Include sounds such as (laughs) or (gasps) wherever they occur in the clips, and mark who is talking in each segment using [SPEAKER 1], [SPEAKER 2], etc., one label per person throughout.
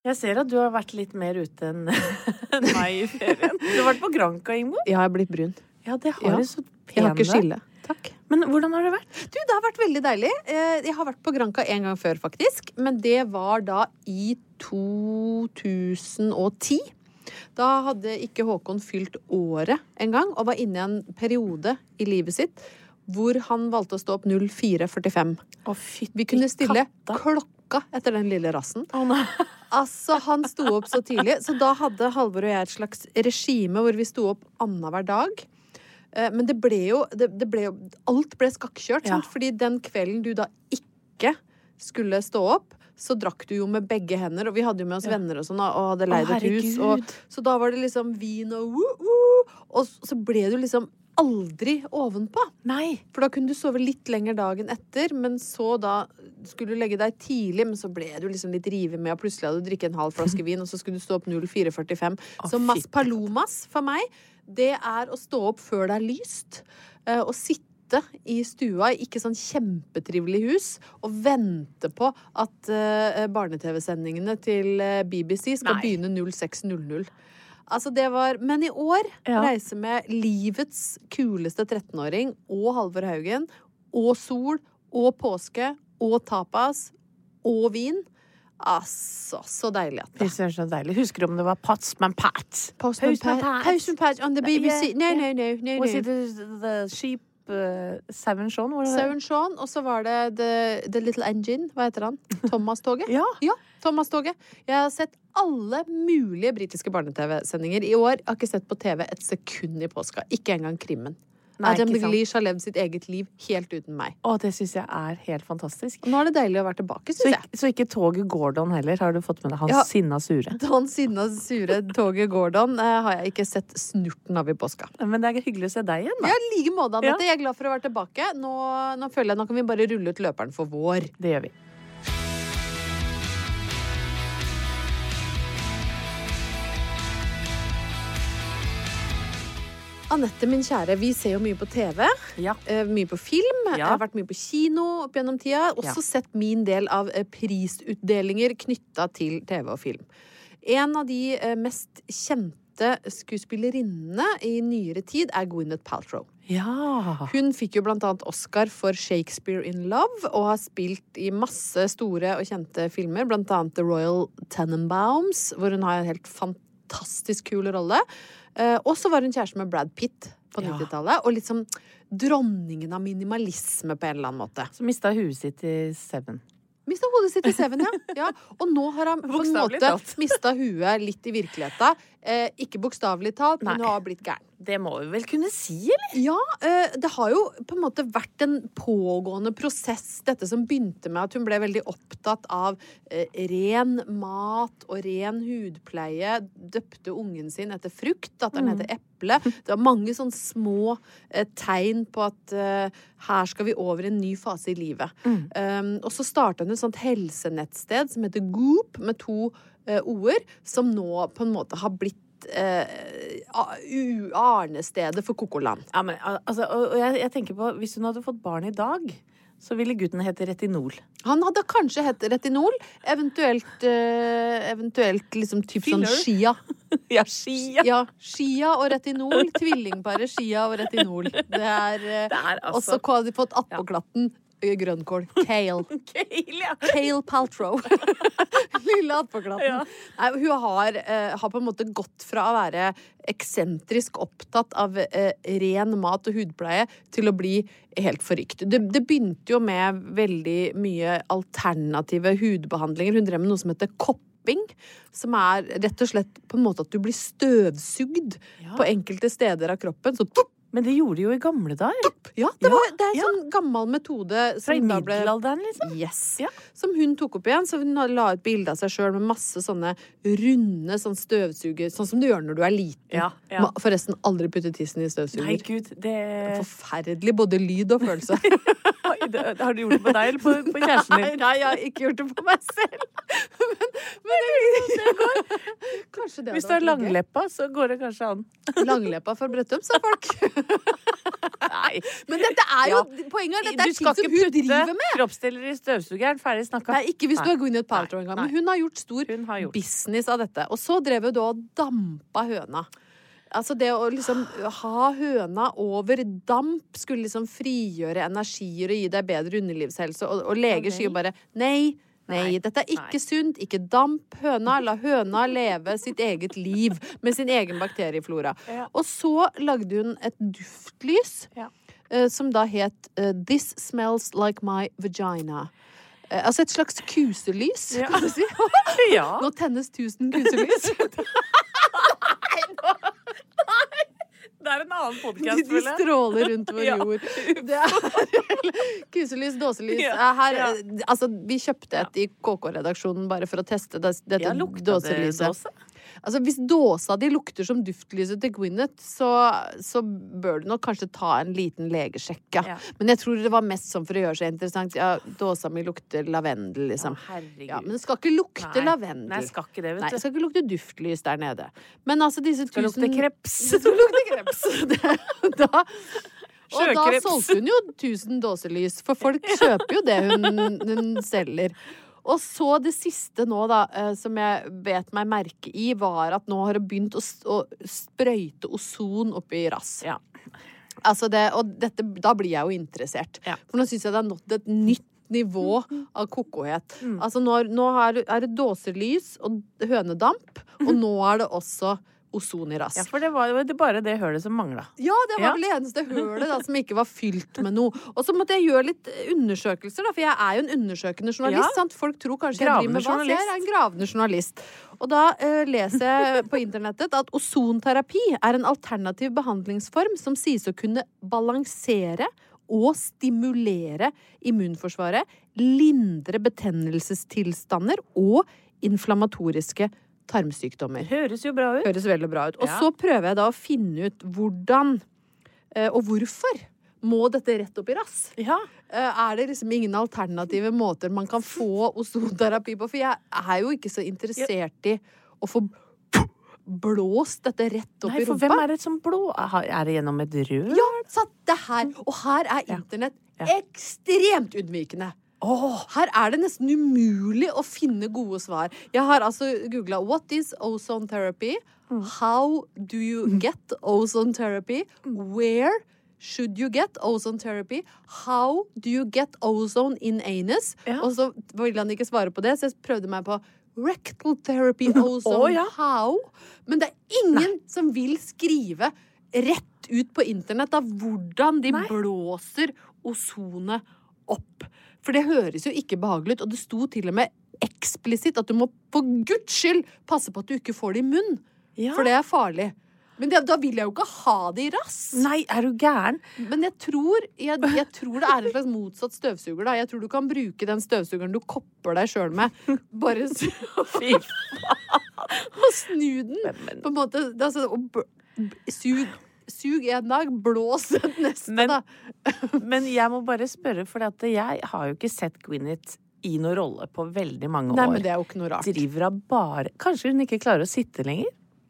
[SPEAKER 1] Jeg ser at du har vært litt mer ute enn (laughs) enn (laughs) meg i ferien. Du har vært på Granca, Ingeborg.
[SPEAKER 2] Ja, jeg er blitt brun.
[SPEAKER 1] Ja, det
[SPEAKER 2] Ja.
[SPEAKER 1] har du så
[SPEAKER 2] Jeg har ikke
[SPEAKER 1] pene.
[SPEAKER 2] skille. Takk.
[SPEAKER 1] Men hvordan har det vært?
[SPEAKER 2] Du, det har vært veldig deilig. Eh, Jeg har vært på Granca en gang før, faktisk. Men det var da i 2010. Da hadde ikke Håkon fylt året engang, og var inne i en periode i livet sitt hvor han valgte å stå opp 04.45.
[SPEAKER 1] Å, fytti
[SPEAKER 2] Vi kunne stille
[SPEAKER 1] katta.
[SPEAKER 2] klokka etter den lille rassen.
[SPEAKER 1] Å, nei.
[SPEAKER 2] Altså, han sto opp så tidlig, så da hadde Halvor og jeg et slags regime hvor vi sto opp annenhver dag. Eh, Men det ble jo, det, det ble jo Alt ble skakkjørt,
[SPEAKER 1] Ja.
[SPEAKER 2] sant? fordi den kvelden du da ikke skulle stå opp, så drakk du jo med begge hender, og vi hadde jo med oss
[SPEAKER 1] Ja.
[SPEAKER 2] venner og sånn, og hadde
[SPEAKER 1] Å,
[SPEAKER 2] leid et hus. Og,
[SPEAKER 1] herregud.
[SPEAKER 2] så da var det liksom vin og woo-woo, og s- så ble du liksom aldri ovenpå.
[SPEAKER 1] (laughs) Nei.
[SPEAKER 2] For da kunne du sove litt lenger dagen etter, men så da skulle du legge deg tidlig, men så ble du liksom litt rivet med, og plutselig hadde du drikket en halv flaske vin, og så skulle du stå opp 04.45.
[SPEAKER 1] Å,
[SPEAKER 2] Så Mas
[SPEAKER 1] fytti katta.
[SPEAKER 2] Palomas for meg, det er å stå opp før det er lyst, eh, og sitte i stua i ikke sånn kjempetrivelig hus og vente på at eh, barne-TV-sendingene til eh, BBC skal
[SPEAKER 1] Nei.
[SPEAKER 2] begynne 06.00. Altså, det var Men i år
[SPEAKER 1] Ja.
[SPEAKER 2] reise med livets kuleste 13-åring og Halvor Haugen. Og sol og påske og tapas og vin. Altså, så deilig at
[SPEAKER 1] Fy
[SPEAKER 2] det er.
[SPEAKER 1] søren, så deilig. Husker du om det var Potsman Pat?
[SPEAKER 2] Postman Pat- Postman Pat on the BBC. No, no, no. no,
[SPEAKER 1] Was it
[SPEAKER 2] no.
[SPEAKER 1] the, the sheep uh, Seven Shaun? var det det?
[SPEAKER 2] Søren Shaun, og så var det The, the Little Engine. Hva heter han? Thomas-toget?
[SPEAKER 1] Ja.
[SPEAKER 2] (laughs) Ja, Thomas-toget. Jeg har sett alle mulige britiske barne-TV-sendinger i år. Jeg har ikke sett på TV et sekund i påska. Ikke engang krimmen.
[SPEAKER 1] Nei,
[SPEAKER 2] Adam
[SPEAKER 1] ikke sant.
[SPEAKER 2] Gleesh har levd sitt eget liv helt uten meg.
[SPEAKER 1] Å, det syns jeg er helt fantastisk.
[SPEAKER 2] Nå er det deilig å være tilbake,
[SPEAKER 1] Så
[SPEAKER 2] syns jeg.
[SPEAKER 1] ikke, så ikke toget Gordon heller, har du fått med deg? Han
[SPEAKER 2] Ja.
[SPEAKER 1] sinna sure.
[SPEAKER 2] Han sinna sure toget Gordon eh, har jeg ikke sett snurten av i påska.
[SPEAKER 1] Men det er hyggelig å se deg igjen, da.
[SPEAKER 2] Ja, I like måte, Anette. Jeg er glad for å være tilbake. Nå, nå føler jeg nå kan vi bare rulle ut løperen for vår.
[SPEAKER 1] Det gjør vi.
[SPEAKER 2] Anette, min kjære, vi ser jo mye på TV.
[SPEAKER 1] Ja.
[SPEAKER 2] eh, Mye på film.
[SPEAKER 1] Ja.
[SPEAKER 2] Jeg har vært mye på kino opp gjennom tida. Også
[SPEAKER 1] Ja.
[SPEAKER 2] sett min del av eh, prisutdelinger knytta til TV og film. En av de eh, mest kjente skuespillerinnene i nyere tid er Gwyneth Paltrow.
[SPEAKER 1] Ja.
[SPEAKER 2] Hun fikk jo blant annet Oscar for Shakespeare in Love, og har spilt i masse store og kjente filmer, blant annet The Royal Tenenbaums, hvor hun har en helt fantastisk kul rolle. Eh, og så var hun kjæreste med Brad Pitt på
[SPEAKER 1] Ja.
[SPEAKER 2] 90-tallet, og liksom dronningen av minimalisme på en eller annen måte.
[SPEAKER 1] Så mista huet sitt i Seven.
[SPEAKER 2] Mista hodet sitt i Seven, ja.
[SPEAKER 1] (laughs)
[SPEAKER 2] ja. Og nå har han på en
[SPEAKER 1] Bokstavelig
[SPEAKER 2] måte
[SPEAKER 1] talt.
[SPEAKER 2] mista huet litt i virkeligheten. Eh, ikke bokstavelig talt, men
[SPEAKER 1] Nei.
[SPEAKER 2] hun har blitt gæren.
[SPEAKER 1] Det må vi vel kunne si, eller?
[SPEAKER 2] Ja, eh, det har jo på en måte vært en pågående prosess, dette som begynte med at hun ble veldig opptatt av eh, ren mat og ren hudpleie. Døpte ungen sin etter frukt, datteren heter eple. Det var mange sånne små eh, tegn på at eh, her skal vi over i en ny fase i livet. Um, og så starta hun et sånt helsenettsted som heter Goop, med to eh, o-er, som nå på en måte har blitt eh, a- u- arnestedet for kokoland.
[SPEAKER 1] Ja, men, al- altså, og og jeg, jeg tenker på, Hvis hun hadde fått barn i dag, så ville gutten hete Retinol.
[SPEAKER 2] Han hadde kanskje hett retinol, eventuelt, eh, eventuelt liksom typ sånn
[SPEAKER 1] Filler.
[SPEAKER 2] Shia.
[SPEAKER 1] (laughs) (laughs) Ja, skia.
[SPEAKER 2] Ja, Shia og retinol. Tvillingparet Shia og retinol. Det er, eh,
[SPEAKER 1] Det er altså-
[SPEAKER 2] også hva de fått attpåklatten. ø, Grønnkål. Kale.
[SPEAKER 1] Kale, ja.
[SPEAKER 2] Kale Paltrow. (laughs) Lille attpåklatten. Nei, Hun har, eh, har på en måte gått fra å være eksentrisk opptatt av eh, ren mat og hudpleie til å bli helt forrykt. Det, det begynte jo med veldig mye alternative hudbehandlinger. Hun drev med noe som heter kopping. Som er rett og slett på en måte at du blir støvsugd på enkelte steder av kroppen. Så tupp,
[SPEAKER 1] Men det gjorde de jo i gamle dager.
[SPEAKER 2] ja, det, var, det er en
[SPEAKER 1] ja.
[SPEAKER 2] sånn gammel metode
[SPEAKER 1] Fra i
[SPEAKER 2] som da ble
[SPEAKER 1] middelalderen, liksom.
[SPEAKER 2] Yes.
[SPEAKER 1] Ja.
[SPEAKER 2] Som hun tok opp igjen. Så hun la ut bilde av seg sjøl med masse sånne runde sånn støvsuger... Sånn som du gjør når du er liten.
[SPEAKER 1] Ja, ja.
[SPEAKER 2] Ma- Forresten, aldri putte tissen i støvsuger.
[SPEAKER 1] Nei, gud, det
[SPEAKER 2] Forferdelig både lyd og følelse.
[SPEAKER 1] (laughs) Oi, det- det- Har du gjort det på deg eller på, på kjæresten (laughs)
[SPEAKER 2] Nei,
[SPEAKER 1] din?
[SPEAKER 2] nei, jeg har ikke gjort det på meg selv. Men, men det liksom- Kanskje det
[SPEAKER 1] Hvis du har
[SPEAKER 2] hadde vært litt gøy.
[SPEAKER 1] langleppa, så går det kanskje an.
[SPEAKER 2] Langleppa fra Brøttum, sa folk.
[SPEAKER 1] (laughs) Nei.
[SPEAKER 2] Men dette er jo
[SPEAKER 1] Ja.
[SPEAKER 2] Poenget er at dette
[SPEAKER 1] Du
[SPEAKER 2] er
[SPEAKER 1] skal
[SPEAKER 2] ting som
[SPEAKER 1] ikke
[SPEAKER 2] hun driver med.
[SPEAKER 1] putte kroppsdeler i støvsugeren. Ferdig snakka.
[SPEAKER 2] Nei, ikke hvis du
[SPEAKER 1] Nei.
[SPEAKER 2] er Gwyneth Paltrow
[SPEAKER 1] Nei,
[SPEAKER 2] engang.
[SPEAKER 1] nei.
[SPEAKER 2] Men hun har gjort stor
[SPEAKER 1] Hun har gjort.
[SPEAKER 2] business av dette. Og så drev hun da og dampa høna. Altså det å liksom ha høna over damp skulle liksom frigjøre energier og gi deg bedre underlivshelse. Og, og leger sier jo bare nei. Nei,
[SPEAKER 1] Nei,
[SPEAKER 2] dette er
[SPEAKER 1] nei.
[SPEAKER 2] ikke sunt. Ikke damp høna. La høna leve sitt eget liv med sin egen bakterieflora.
[SPEAKER 1] Ja.
[SPEAKER 2] Og så lagde hun et duftlys
[SPEAKER 1] Ja.
[SPEAKER 2] eh, som da het eh, This Smells Like My Vagina. Eh, altså et slags kuselys,
[SPEAKER 1] Ja.
[SPEAKER 2] kan du si. (laughs)
[SPEAKER 1] Ja.
[SPEAKER 2] Nå tennes 1000 kuselys.
[SPEAKER 1] Det er en annen
[SPEAKER 2] De,
[SPEAKER 1] podkast,
[SPEAKER 2] de
[SPEAKER 1] (laughs)
[SPEAKER 2] stråler rundt vår
[SPEAKER 1] Ja.
[SPEAKER 2] jord. Det er (laughs) kuselys, dåselys
[SPEAKER 1] Ja,
[SPEAKER 2] Eh, Her,
[SPEAKER 1] ja.
[SPEAKER 2] eh, Altså, vi kjøpte et i KK-redaksjonen bare for å teste des, dette
[SPEAKER 1] Ja, lukta det
[SPEAKER 2] dåselyset.
[SPEAKER 1] dåse?
[SPEAKER 2] Altså, hvis dåsa di lukter som duftlyset til Gwyneth, så, så bør du nok kanskje ta en liten legesjekk. Ja.
[SPEAKER 1] Ja.
[SPEAKER 2] Men jeg tror det var mest sånn for å gjøre seg interessant. Ja, dåsa mi lukter lavendel, liksom.
[SPEAKER 1] herregud.
[SPEAKER 2] Ja, men det skal ikke lukte
[SPEAKER 1] Nei.
[SPEAKER 2] lavendel.
[SPEAKER 1] Nei, skal ikke det, vet
[SPEAKER 2] Nei,
[SPEAKER 1] du.
[SPEAKER 2] det skal ikke lukte duftlys der nede. Men altså disse
[SPEAKER 1] Skal lukte
[SPEAKER 2] (laughs)
[SPEAKER 1] kreps.
[SPEAKER 2] Det skal lukte kreps. (laughs) Det- da, og da
[SPEAKER 1] Sjøkreps.
[SPEAKER 2] solgte hun jo 1000 dåselys, for folk kjøper jo det hun, hun selger. Og så det siste nå, da, eh, som jeg bet meg merke i, var at nå har hun begynt å, s- å sprøyte ozon oppi rass.
[SPEAKER 1] Ja.
[SPEAKER 2] Altså det, og dette, da blir jeg jo interessert.
[SPEAKER 1] Ja. Mm.
[SPEAKER 2] For nå syns jeg det har nådd et nytt nivå av kokohet. Altså nå, er- nå er, er det dåselys og hønedamp, og nå er det også ozon i rass.
[SPEAKER 1] Mm-hmm. Ja, for det var jo det bare det hølet som mangla.
[SPEAKER 2] Ja, det
[SPEAKER 1] Ja.
[SPEAKER 2] var vel det eneste hølet
[SPEAKER 1] (laughs)
[SPEAKER 2] da, som ikke var fylt med noe. Og så måtte jeg gjøre litt undersøkelser, da, for jeg er jo en undersøkende
[SPEAKER 1] Ja.
[SPEAKER 2] journalist. Sant? Folk tror kanskje jeg driver
[SPEAKER 1] Gravende
[SPEAKER 2] med hva, så jeg er en gravende journalist. Og da eh, leser jeg på internettet at ozonterapi er en alternativ behandlingsform som sies å kunne balansere og stimulere immunforsvaret, lindre betennelsestilstander og inflammatoriske tarmsykdommer.
[SPEAKER 1] Høres jo bra ut.
[SPEAKER 2] Høres veldig bra ut. Og
[SPEAKER 1] Ja.
[SPEAKER 2] så prøver jeg da å finne ut hvordan eh, og hvorfor må dette rett opp i rass.
[SPEAKER 1] Ja.
[SPEAKER 2] Eh, Er det liksom ingen alternative måter man kan få ozonterapi på? For jeg er jo ikke så interessert i å få blåst dette rett opp
[SPEAKER 1] Nei,
[SPEAKER 2] i
[SPEAKER 1] for
[SPEAKER 2] rumpa.
[SPEAKER 1] hvem er det som blå? Har- Er det gjennom et rør?
[SPEAKER 2] Ja, sant, det her.
[SPEAKER 1] Mm.
[SPEAKER 2] Og her er internett ekstremt unnvikende. Her er det nesten umulig å finne gode svar. Jeg har altså googla 'What is ozone therapy?'
[SPEAKER 1] Mm.
[SPEAKER 2] 'How do you get ozone therapy?'
[SPEAKER 1] Mm.
[SPEAKER 2] 'Where should you get ozone therapy?' 'How do you get ozone in anus?'
[SPEAKER 1] Ja.
[SPEAKER 2] Og så ville han ikke svare på det, så jeg prøvde meg på rectal therapy ozone.
[SPEAKER 1] (laughs) Å, ja.
[SPEAKER 2] How? Men det er ingen som vil skrive rett ut på internett av hvordan de blåser ozonet opp. For det høres jo ikke behagelig ut, og det sto til og med eksplisitt at du må for guds skyld passe på at du ikke får det i munnen,
[SPEAKER 1] Ja.
[SPEAKER 2] for det er farlig. Men det, da vil jeg jo ikke ha det i rass.
[SPEAKER 1] Nei, er du gæren?
[SPEAKER 2] Men jeg tror, jeg, jeg tror det er en slags motsatt støvsuger. da. Jeg tror du kan bruke den støvsugeren du kopper deg sjøl med, bare s-
[SPEAKER 1] Fy
[SPEAKER 2] og snu den. På en måte, det er sånn, og b b sug, sug en dag, blås den neste,
[SPEAKER 1] Men-
[SPEAKER 2] da.
[SPEAKER 1] (laughs) Men jeg må bare spørre, for at jeg har jo ikke sett Gwyneth i noen rolle på veldig mange
[SPEAKER 2] Nei,
[SPEAKER 1] år.
[SPEAKER 2] men det er jo ikke noe rart.
[SPEAKER 1] Driver av bare Kanskje hun ikke klarer å sitte lenger?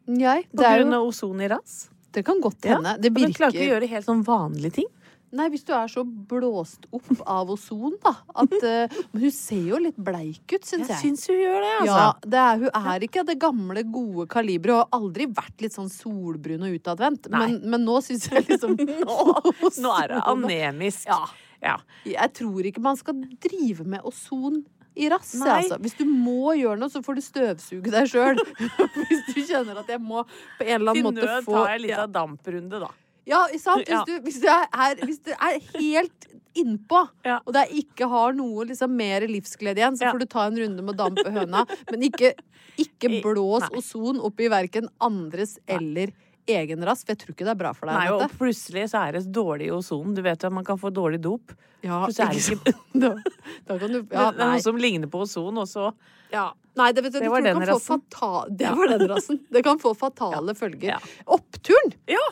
[SPEAKER 2] Nei,
[SPEAKER 1] På
[SPEAKER 2] det, er
[SPEAKER 1] grunn
[SPEAKER 2] jo,
[SPEAKER 1] av ozon i rass?
[SPEAKER 2] det kan godt hende. Det
[SPEAKER 1] Hun klarer ikke å
[SPEAKER 2] virker
[SPEAKER 1] gjøre helt sånn vanlige ting.
[SPEAKER 2] Nei, hvis du er så blåst opp av ozon, da.
[SPEAKER 1] (laughs)
[SPEAKER 2] At, eh, men hun ser jo litt bleik ut,
[SPEAKER 1] Jeg
[SPEAKER 2] syns jeg.
[SPEAKER 1] syns hun gjør det, altså.
[SPEAKER 2] (laughs) Ja, det er, hun er ikke av det gamle, gode kaliberet. Og har aldri vært litt sånn solbrun og utadvendt. Men, men nå syns jeg liksom
[SPEAKER 1] (laughs) Nå, nå er det anemisk.
[SPEAKER 2] Ja.
[SPEAKER 1] Ja.
[SPEAKER 2] Jeg tror ikke man skal drive med ozon i rass. jeg,
[SPEAKER 1] Nei.
[SPEAKER 2] Altså. Hvis du må gjøre noe, så får du støvsuge deg sjøl.
[SPEAKER 1] (laughs)
[SPEAKER 2] (laughs) Hvis du kjenner at jeg må på en eller
[SPEAKER 1] Til
[SPEAKER 2] annen måte
[SPEAKER 1] nød
[SPEAKER 2] få
[SPEAKER 1] tar jeg litt av damprunde, da.
[SPEAKER 2] Ja, sant?
[SPEAKER 1] Ja.
[SPEAKER 2] Hvis, du, hvis, du er, hvis du er helt innpå,
[SPEAKER 1] Ja.
[SPEAKER 2] og det er ikke har noe liksom, mer livsglede igjen, så
[SPEAKER 1] Ja.
[SPEAKER 2] får du ta en runde med damp på høna. Men ikke, ikke
[SPEAKER 1] I-
[SPEAKER 2] blås
[SPEAKER 1] nei.
[SPEAKER 2] ozon opp i verken andres eller egen rass, for jeg tror ikke det er bra for deg.
[SPEAKER 1] Nei, og
[SPEAKER 2] Anette.
[SPEAKER 1] plutselig så er det dårlig ozon. Du vet jo at man kan få dårlig dop.
[SPEAKER 2] Ja,
[SPEAKER 1] Plutselig er
[SPEAKER 2] ikke
[SPEAKER 1] det ikke
[SPEAKER 2] sant? da, (laughs) da kan du ja,
[SPEAKER 1] Men det er
[SPEAKER 2] nei.
[SPEAKER 1] noe som ligner på ozon, og så
[SPEAKER 2] Ja. Nei, det, vet du,
[SPEAKER 1] Det
[SPEAKER 2] jeg
[SPEAKER 1] var
[SPEAKER 2] tror det
[SPEAKER 1] den
[SPEAKER 2] kan få
[SPEAKER 1] rassen.
[SPEAKER 2] fata- det var den rassen. Det kan få fatale følger.
[SPEAKER 1] Ja.
[SPEAKER 2] Oppturen!
[SPEAKER 1] Ja!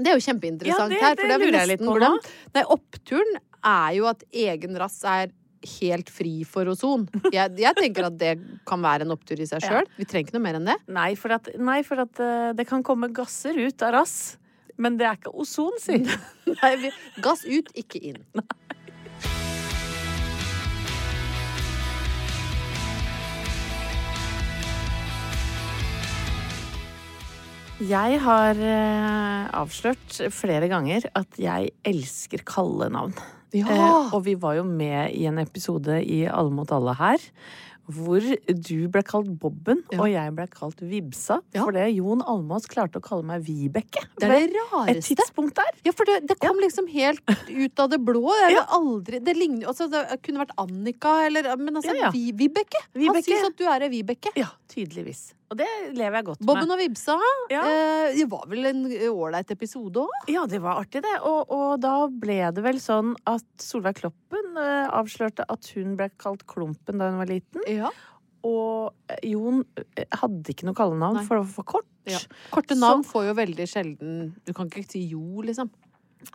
[SPEAKER 2] Det er jo
[SPEAKER 1] Ja,
[SPEAKER 2] kjempeinteressant
[SPEAKER 1] det-
[SPEAKER 2] her,
[SPEAKER 1] det
[SPEAKER 2] for det har vi
[SPEAKER 1] lurer jeg litt
[SPEAKER 2] nesten
[SPEAKER 1] på nå.
[SPEAKER 2] glemt. Nei, oppturen er jo at egen rass er helt fri for ozon. Jeg, jeg tenker at det kan være en opptur i (laughs) seg sjøl. Vi trenger ikke noe mer enn det.
[SPEAKER 1] Nei, for at, nei, for at eh, det kan komme gasser ut av rass. Men det er ikke ozon, sier hun.
[SPEAKER 2] Nei, vi, gass ut, ikke inn.
[SPEAKER 1] Jeg har eh, avslørt flere ganger at jeg elsker kallenavn.
[SPEAKER 2] Ja.
[SPEAKER 1] og vi var jo med i en episode i Alle mot alle her, hvor du ble kalt Bobben,
[SPEAKER 2] Ja.
[SPEAKER 1] og jeg ble kalt Vibsa.
[SPEAKER 2] Ja.
[SPEAKER 1] Fordi Jon Almaas klarte å kalle meg Vibeke.
[SPEAKER 2] Det er det
[SPEAKER 1] Et
[SPEAKER 2] rareste.
[SPEAKER 1] tidspunkt der.
[SPEAKER 2] Ja, for det, det kom liksom helt ut av det blå. Jeg har aldri Det ligner altså, Det kunne vært Annika eller Men altså,
[SPEAKER 1] Ja, ja.
[SPEAKER 2] Vi, Vibeke.
[SPEAKER 1] Vibeke.
[SPEAKER 2] Han syns at du er ei Vibeke.
[SPEAKER 1] Ja, tydeligvis. Og det lever jeg godt med.
[SPEAKER 2] Bobben og Vibsa.
[SPEAKER 1] Ja.
[SPEAKER 2] Eh, det var vel en ålreit episode òg?
[SPEAKER 1] Ja, det var artig, det. Og, og da ble det vel sånn at Solveig Kloppen eh, avslørte at hun ble kalt Klumpen da hun var liten.
[SPEAKER 2] Ja.
[SPEAKER 1] Og eh, Jon eh, hadde ikke noe kallenavn,
[SPEAKER 2] Nei.
[SPEAKER 1] for det var for kort.
[SPEAKER 2] Ja. Korte navn får jo veldig sjelden Du kan ikke si Jo, liksom.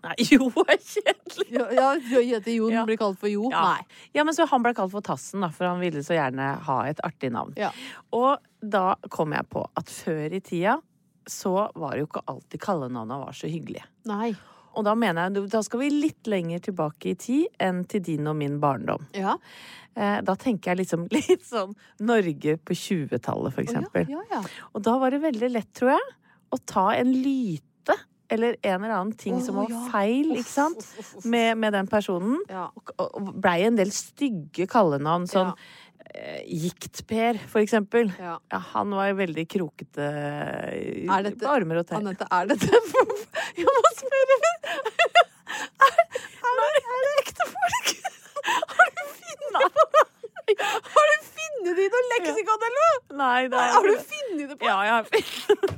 [SPEAKER 1] Nei, (laughs) jo, er kjedelig!
[SPEAKER 2] Ja, ja Jette Jon
[SPEAKER 1] Ja.
[SPEAKER 2] blir kalt for Jo.
[SPEAKER 1] Ja.
[SPEAKER 2] Nei.
[SPEAKER 1] Ja, men så han ble kalt for Tassen, da, for han ville så gjerne ha et artig navn.
[SPEAKER 2] Ja.
[SPEAKER 1] Og da kom jeg på at før i tida så var det jo ikke alltid kallenavna var så hyggelige.
[SPEAKER 2] Nei.
[SPEAKER 1] Og da mener jeg, da skal vi litt lenger tilbake i tid enn til din og min barndom.
[SPEAKER 2] Ja.
[SPEAKER 1] Eh, Da tenker jeg liksom (laughs) litt sånn Norge på 20-tallet, for
[SPEAKER 2] Å, ja,
[SPEAKER 1] eksempel.
[SPEAKER 2] ja, ja.
[SPEAKER 1] Og da var det veldig lett, tror jeg, å ta en lyte eller en eller annen ting
[SPEAKER 2] Å,
[SPEAKER 1] som var
[SPEAKER 2] ja.
[SPEAKER 1] feil, ikke sant, med, med den personen.
[SPEAKER 2] Ja.
[SPEAKER 1] Og, og blei en del stygge kallenavn, sånn
[SPEAKER 2] Ja.
[SPEAKER 1] eh, Gikt-Per, for eksempel.
[SPEAKER 2] Ja.
[SPEAKER 1] han var veldig krokete i-
[SPEAKER 2] Er dette-
[SPEAKER 1] på armer og (laughs) tær.
[SPEAKER 2] Anette, er dette (laughs) Jeg må spørre! Er, er, det, er det ekte folk? Har du funnet Har du funnet det i noe leksikon, eller noe?
[SPEAKER 1] Nei, det er
[SPEAKER 2] Har du funnet det på
[SPEAKER 1] Ja, jeg har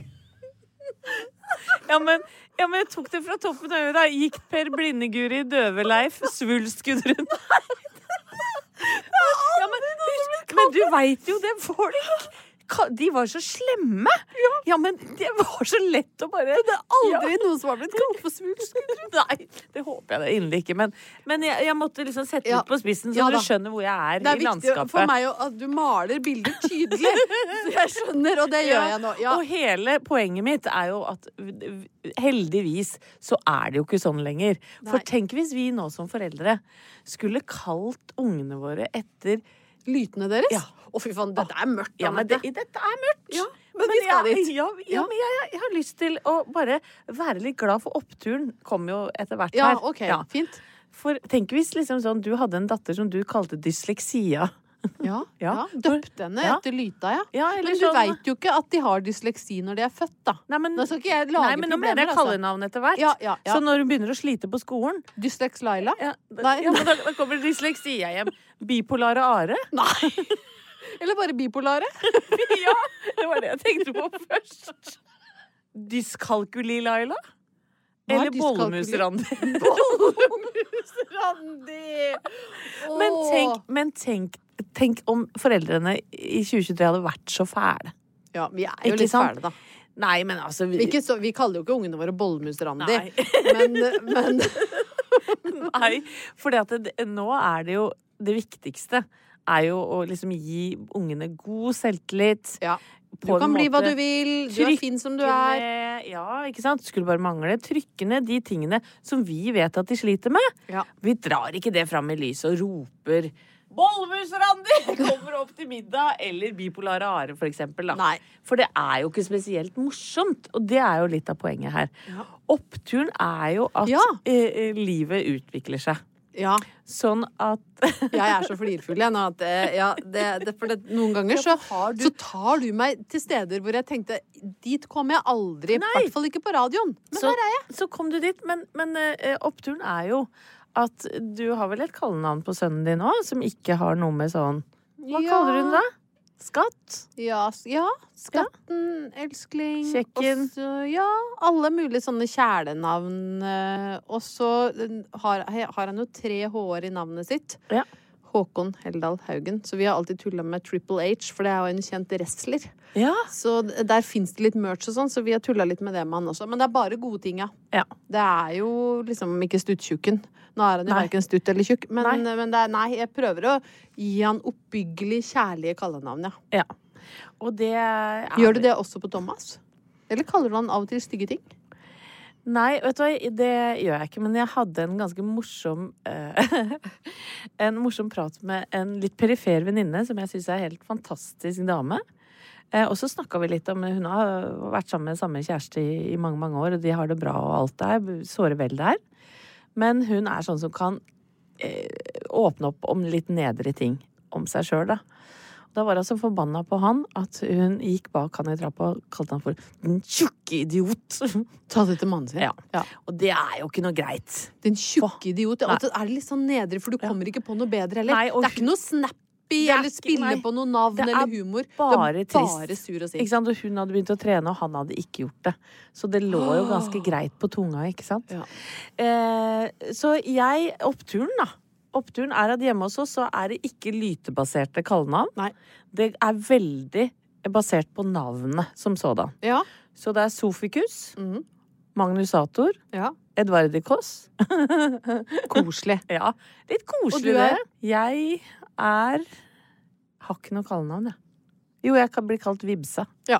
[SPEAKER 1] ja, men, ja, men jeg tok det fra toppen av øyet. da. Gikk Per Blindeguri, Døve-Leif, Svulst-Gudrun ja, men, husk- men du veit jo det, folk! ka- De var så slemme! Ja, men det var så lett å bare
[SPEAKER 2] Det er aldri noen som har blitt kalt for svulstkudder.
[SPEAKER 1] Nei, det håper jeg da inderlig ikke. Men, men jeg, jeg måtte liksom sette
[SPEAKER 2] Ja.
[SPEAKER 1] litt på spissen, så
[SPEAKER 2] Ja
[SPEAKER 1] dere
[SPEAKER 2] da.
[SPEAKER 1] skjønner hvor jeg er,
[SPEAKER 2] Det er
[SPEAKER 1] i
[SPEAKER 2] viktig
[SPEAKER 1] landskapet.
[SPEAKER 2] for meg å- at du maler bilder tydelig. Så jeg skjønner, og det gjør jeg nå. Ja.
[SPEAKER 1] Og hele poenget mitt er jo at v- v- heldigvis så er det jo ikke sånn lenger. For
[SPEAKER 2] Nei.
[SPEAKER 1] tenk hvis vi nå som foreldre skulle kalt ungene våre etter
[SPEAKER 2] Lytene deres?
[SPEAKER 1] Ja.
[SPEAKER 2] Å, fy faen, dette er mørkt.
[SPEAKER 1] Ja, men det, dette er mørkt!
[SPEAKER 2] Ja, men vi skal
[SPEAKER 1] jeg,
[SPEAKER 2] dit.
[SPEAKER 1] Ja, ja,
[SPEAKER 2] Ja.
[SPEAKER 1] men jeg, jeg, jeg har lyst til å bare være litt glad for oppturen. Kommer jo etter hvert
[SPEAKER 2] Ja,
[SPEAKER 1] her.
[SPEAKER 2] OK.
[SPEAKER 1] Ja.
[SPEAKER 2] Fint.
[SPEAKER 1] For tenk hvis liksom sånn, du hadde en datter som du kalte dysleksia.
[SPEAKER 2] Ja, ja.
[SPEAKER 1] Ja.
[SPEAKER 2] Døpte henne
[SPEAKER 1] Ja.
[SPEAKER 2] etter lyta, ja.
[SPEAKER 1] Ja, eller
[SPEAKER 2] men du
[SPEAKER 1] sånn-
[SPEAKER 2] veit jo ikke at de har dysleksi når de er født, da.
[SPEAKER 1] Nei, men,
[SPEAKER 2] Nå skal ikke jeg lage
[SPEAKER 1] Nei, men nå mener
[SPEAKER 2] problemer,
[SPEAKER 1] jeg
[SPEAKER 2] altså.
[SPEAKER 1] kallenavn etter hvert.
[SPEAKER 2] Ja, ja, ja.
[SPEAKER 1] Så når hun begynner å slite på skolen,
[SPEAKER 2] Dysleks Laila?
[SPEAKER 1] Ja, da,
[SPEAKER 2] Nei.
[SPEAKER 1] ja, men da, da kommer dysleksia hjem. Bipolare (laughs) Are.
[SPEAKER 2] (laughs) Nei!
[SPEAKER 1] (laughs)
[SPEAKER 2] Eller bare bipolare?
[SPEAKER 1] Ja, det var det jeg tenkte på først. Dyskalkuli, Laila?
[SPEAKER 2] Hva er
[SPEAKER 1] Eller bollemus,
[SPEAKER 2] dyskalkuli?
[SPEAKER 1] Randi?
[SPEAKER 2] Randi!
[SPEAKER 1] men tenk, men tenk, tenk om foreldrene i 2023 hadde vært så fæle.
[SPEAKER 2] Ja, vi er jo
[SPEAKER 1] Ikke
[SPEAKER 2] litt
[SPEAKER 1] sant?
[SPEAKER 2] fæle, da.
[SPEAKER 1] Nei, men altså vi,
[SPEAKER 2] Vi, ikke så, vi kaller jo ikke ungene våre bollemus-Randi.
[SPEAKER 1] Nei.
[SPEAKER 2] Men, men
[SPEAKER 1] (laughs) Nei, for nå er det jo Det viktigste er jo å liksom gi ungene god selvtillit.
[SPEAKER 2] ja. Du
[SPEAKER 1] På en
[SPEAKER 2] kan bli hva
[SPEAKER 1] måte
[SPEAKER 2] du vil. Du er fin som du
[SPEAKER 1] trykke
[SPEAKER 2] er.
[SPEAKER 1] ned- Ja, ikke sant? Skulle bare mangle. Trykke ned de tingene som vi vet at de sliter med.
[SPEAKER 2] Ja.
[SPEAKER 1] Vi drar ikke det fram i lyset og roper Bollemus, Randi! (laughs) Kommer opp til middag! Eller bipolare are, for eksempel. Da.
[SPEAKER 2] Nei.
[SPEAKER 1] For det er jo ikke spesielt morsomt, og det er jo litt av poenget her. Oppturen er jo at
[SPEAKER 2] Ja.
[SPEAKER 1] eh, eh, livet utvikler seg.
[SPEAKER 2] Ja.
[SPEAKER 1] Sånn
[SPEAKER 2] (laughs)
[SPEAKER 1] at
[SPEAKER 2] Jeg er så flirfull, jeg nå. At, eh, ja, det, det, for det, noen ganger så, så tar du meg til steder hvor jeg tenkte Dit kommer jeg aldri. I
[SPEAKER 1] Nei.
[SPEAKER 2] hvert fall ikke på radioen. Men
[SPEAKER 1] så,
[SPEAKER 2] her Sånn er jeg.
[SPEAKER 1] (laughs) Så kom du dit, men, men eh, oppturen er jo at du har vel et kallenavn på sønnen din òg, som ikke har noe med sånn Hva
[SPEAKER 2] Ja.
[SPEAKER 1] kaller hun det? Skatt?
[SPEAKER 2] Ja, s- ja Skatten, Elskling
[SPEAKER 1] Kjekken.
[SPEAKER 2] og så- Ja, alle mulige sånne kjælenavn. eh, Og så eh, har, he- har han jo tre h-er i navnet sitt.
[SPEAKER 1] Ja.
[SPEAKER 2] Håkon Helldal Haugen. Så vi har alltid tulla med Triple H, for det er jo en kjent wrestler.
[SPEAKER 1] Ja.
[SPEAKER 2] Så d- der fins det litt merch og sånn, så vi har tulla litt med det med han også. Men det er bare gode ting, ja.
[SPEAKER 1] ja.
[SPEAKER 2] Det er jo liksom ikke stuttjukken. Nå er han jo
[SPEAKER 1] Nei.
[SPEAKER 2] verken stutt eller tjukk, men,
[SPEAKER 1] Nei.
[SPEAKER 2] men det er, nei, jeg prøver å gi han oppbyggelig kjærlige kallenavn, ja.
[SPEAKER 1] ja. Og det er,
[SPEAKER 2] Gjør du det også på Thomas? Eller kaller du han av og til stygge ting?
[SPEAKER 1] Nei, vet du hva, det gjør jeg ikke. Men jeg hadde en ganske morsom eh, (laughs) En morsom prat med en litt perifer venninne som jeg syns er en helt fantastisk dame. Eh, og så snakka vi litt om eh, Hun har vært sammen med samme kjæreste i, i mange, mange år, og de har det bra og alt der. Såre vel der. Men hun er sånn som kan eh, åpne opp om litt nedre ting om seg sjøl, da. Da var hun så forbanna på han at hun gikk bak han i trappa og kalte han for 'den tjukke idiot'. (laughs)
[SPEAKER 2] Ta det til mannen sin.
[SPEAKER 1] Ja. Og det er jo ikke noe greit.
[SPEAKER 2] Den tjukke idiot.
[SPEAKER 1] Nei.
[SPEAKER 2] Og så er det litt sånn nedre, for du kommer ikke på noe bedre heller.
[SPEAKER 1] Nei, og
[SPEAKER 2] det er ikke noe snappy
[SPEAKER 1] er
[SPEAKER 2] eller
[SPEAKER 1] ikke-
[SPEAKER 2] spille
[SPEAKER 1] nei.
[SPEAKER 2] på noe navn
[SPEAKER 1] Det er
[SPEAKER 2] eller humor.
[SPEAKER 1] Bare
[SPEAKER 2] det er
[SPEAKER 1] trist.
[SPEAKER 2] bare sur og
[SPEAKER 1] Ikke
[SPEAKER 2] sint.
[SPEAKER 1] sant? Og hun hadde begynt å trene, og han hadde ikke gjort det. Så det lå jo
[SPEAKER 2] (gasps)
[SPEAKER 1] ganske greit på tunga, ikke sant?
[SPEAKER 2] Ja.
[SPEAKER 1] Eh, så jeg Oppturen, da. Oppturen er at hjemme hos oss så er det ikke lytebaserte kallenavn.
[SPEAKER 2] Nei.
[SPEAKER 1] Det er veldig basert på navnet som sådan.
[SPEAKER 2] Ja.
[SPEAKER 1] Så det er Sofikus,
[SPEAKER 2] Mhm.
[SPEAKER 1] Magnusator,
[SPEAKER 2] ja.
[SPEAKER 1] (laughs) Edvardikos.
[SPEAKER 2] Koselig.
[SPEAKER 1] Ja, litt
[SPEAKER 2] Og
[SPEAKER 1] koselig
[SPEAKER 2] du er?
[SPEAKER 1] det. Jeg er Har ikke noe kallenavn, jeg. Jo, jeg kan bli kalt Vibsa.
[SPEAKER 2] Ja.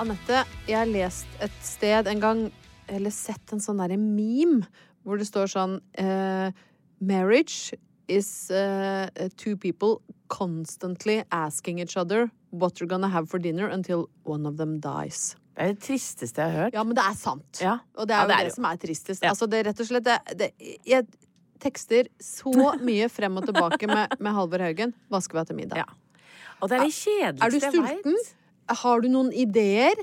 [SPEAKER 2] Anette, jeg har lest et sted en gang, eller sett en sånn derre meme, hvor det står sånn eh, Marriage is uh, uh, two people constantly asking each other what you're gonna have for dinner until one of them dies.
[SPEAKER 1] Det er det tristeste jeg har hørt.
[SPEAKER 2] Ja, men det er sant.
[SPEAKER 1] Ja.
[SPEAKER 2] Og det er
[SPEAKER 1] Ja,
[SPEAKER 2] jo
[SPEAKER 1] det
[SPEAKER 2] det,
[SPEAKER 1] er det jo.
[SPEAKER 2] som er tristest.
[SPEAKER 1] Ja.
[SPEAKER 2] Altså, det er rett og slett det, det, Jeg tekster så mye frem og tilbake med, med Halvor Haugen. Hva skal vi ha til middag?
[SPEAKER 1] Ja. Og det er det
[SPEAKER 2] Er du
[SPEAKER 1] kjedeligste jeg
[SPEAKER 2] sulten?
[SPEAKER 1] vet.
[SPEAKER 2] Har du noen ideer?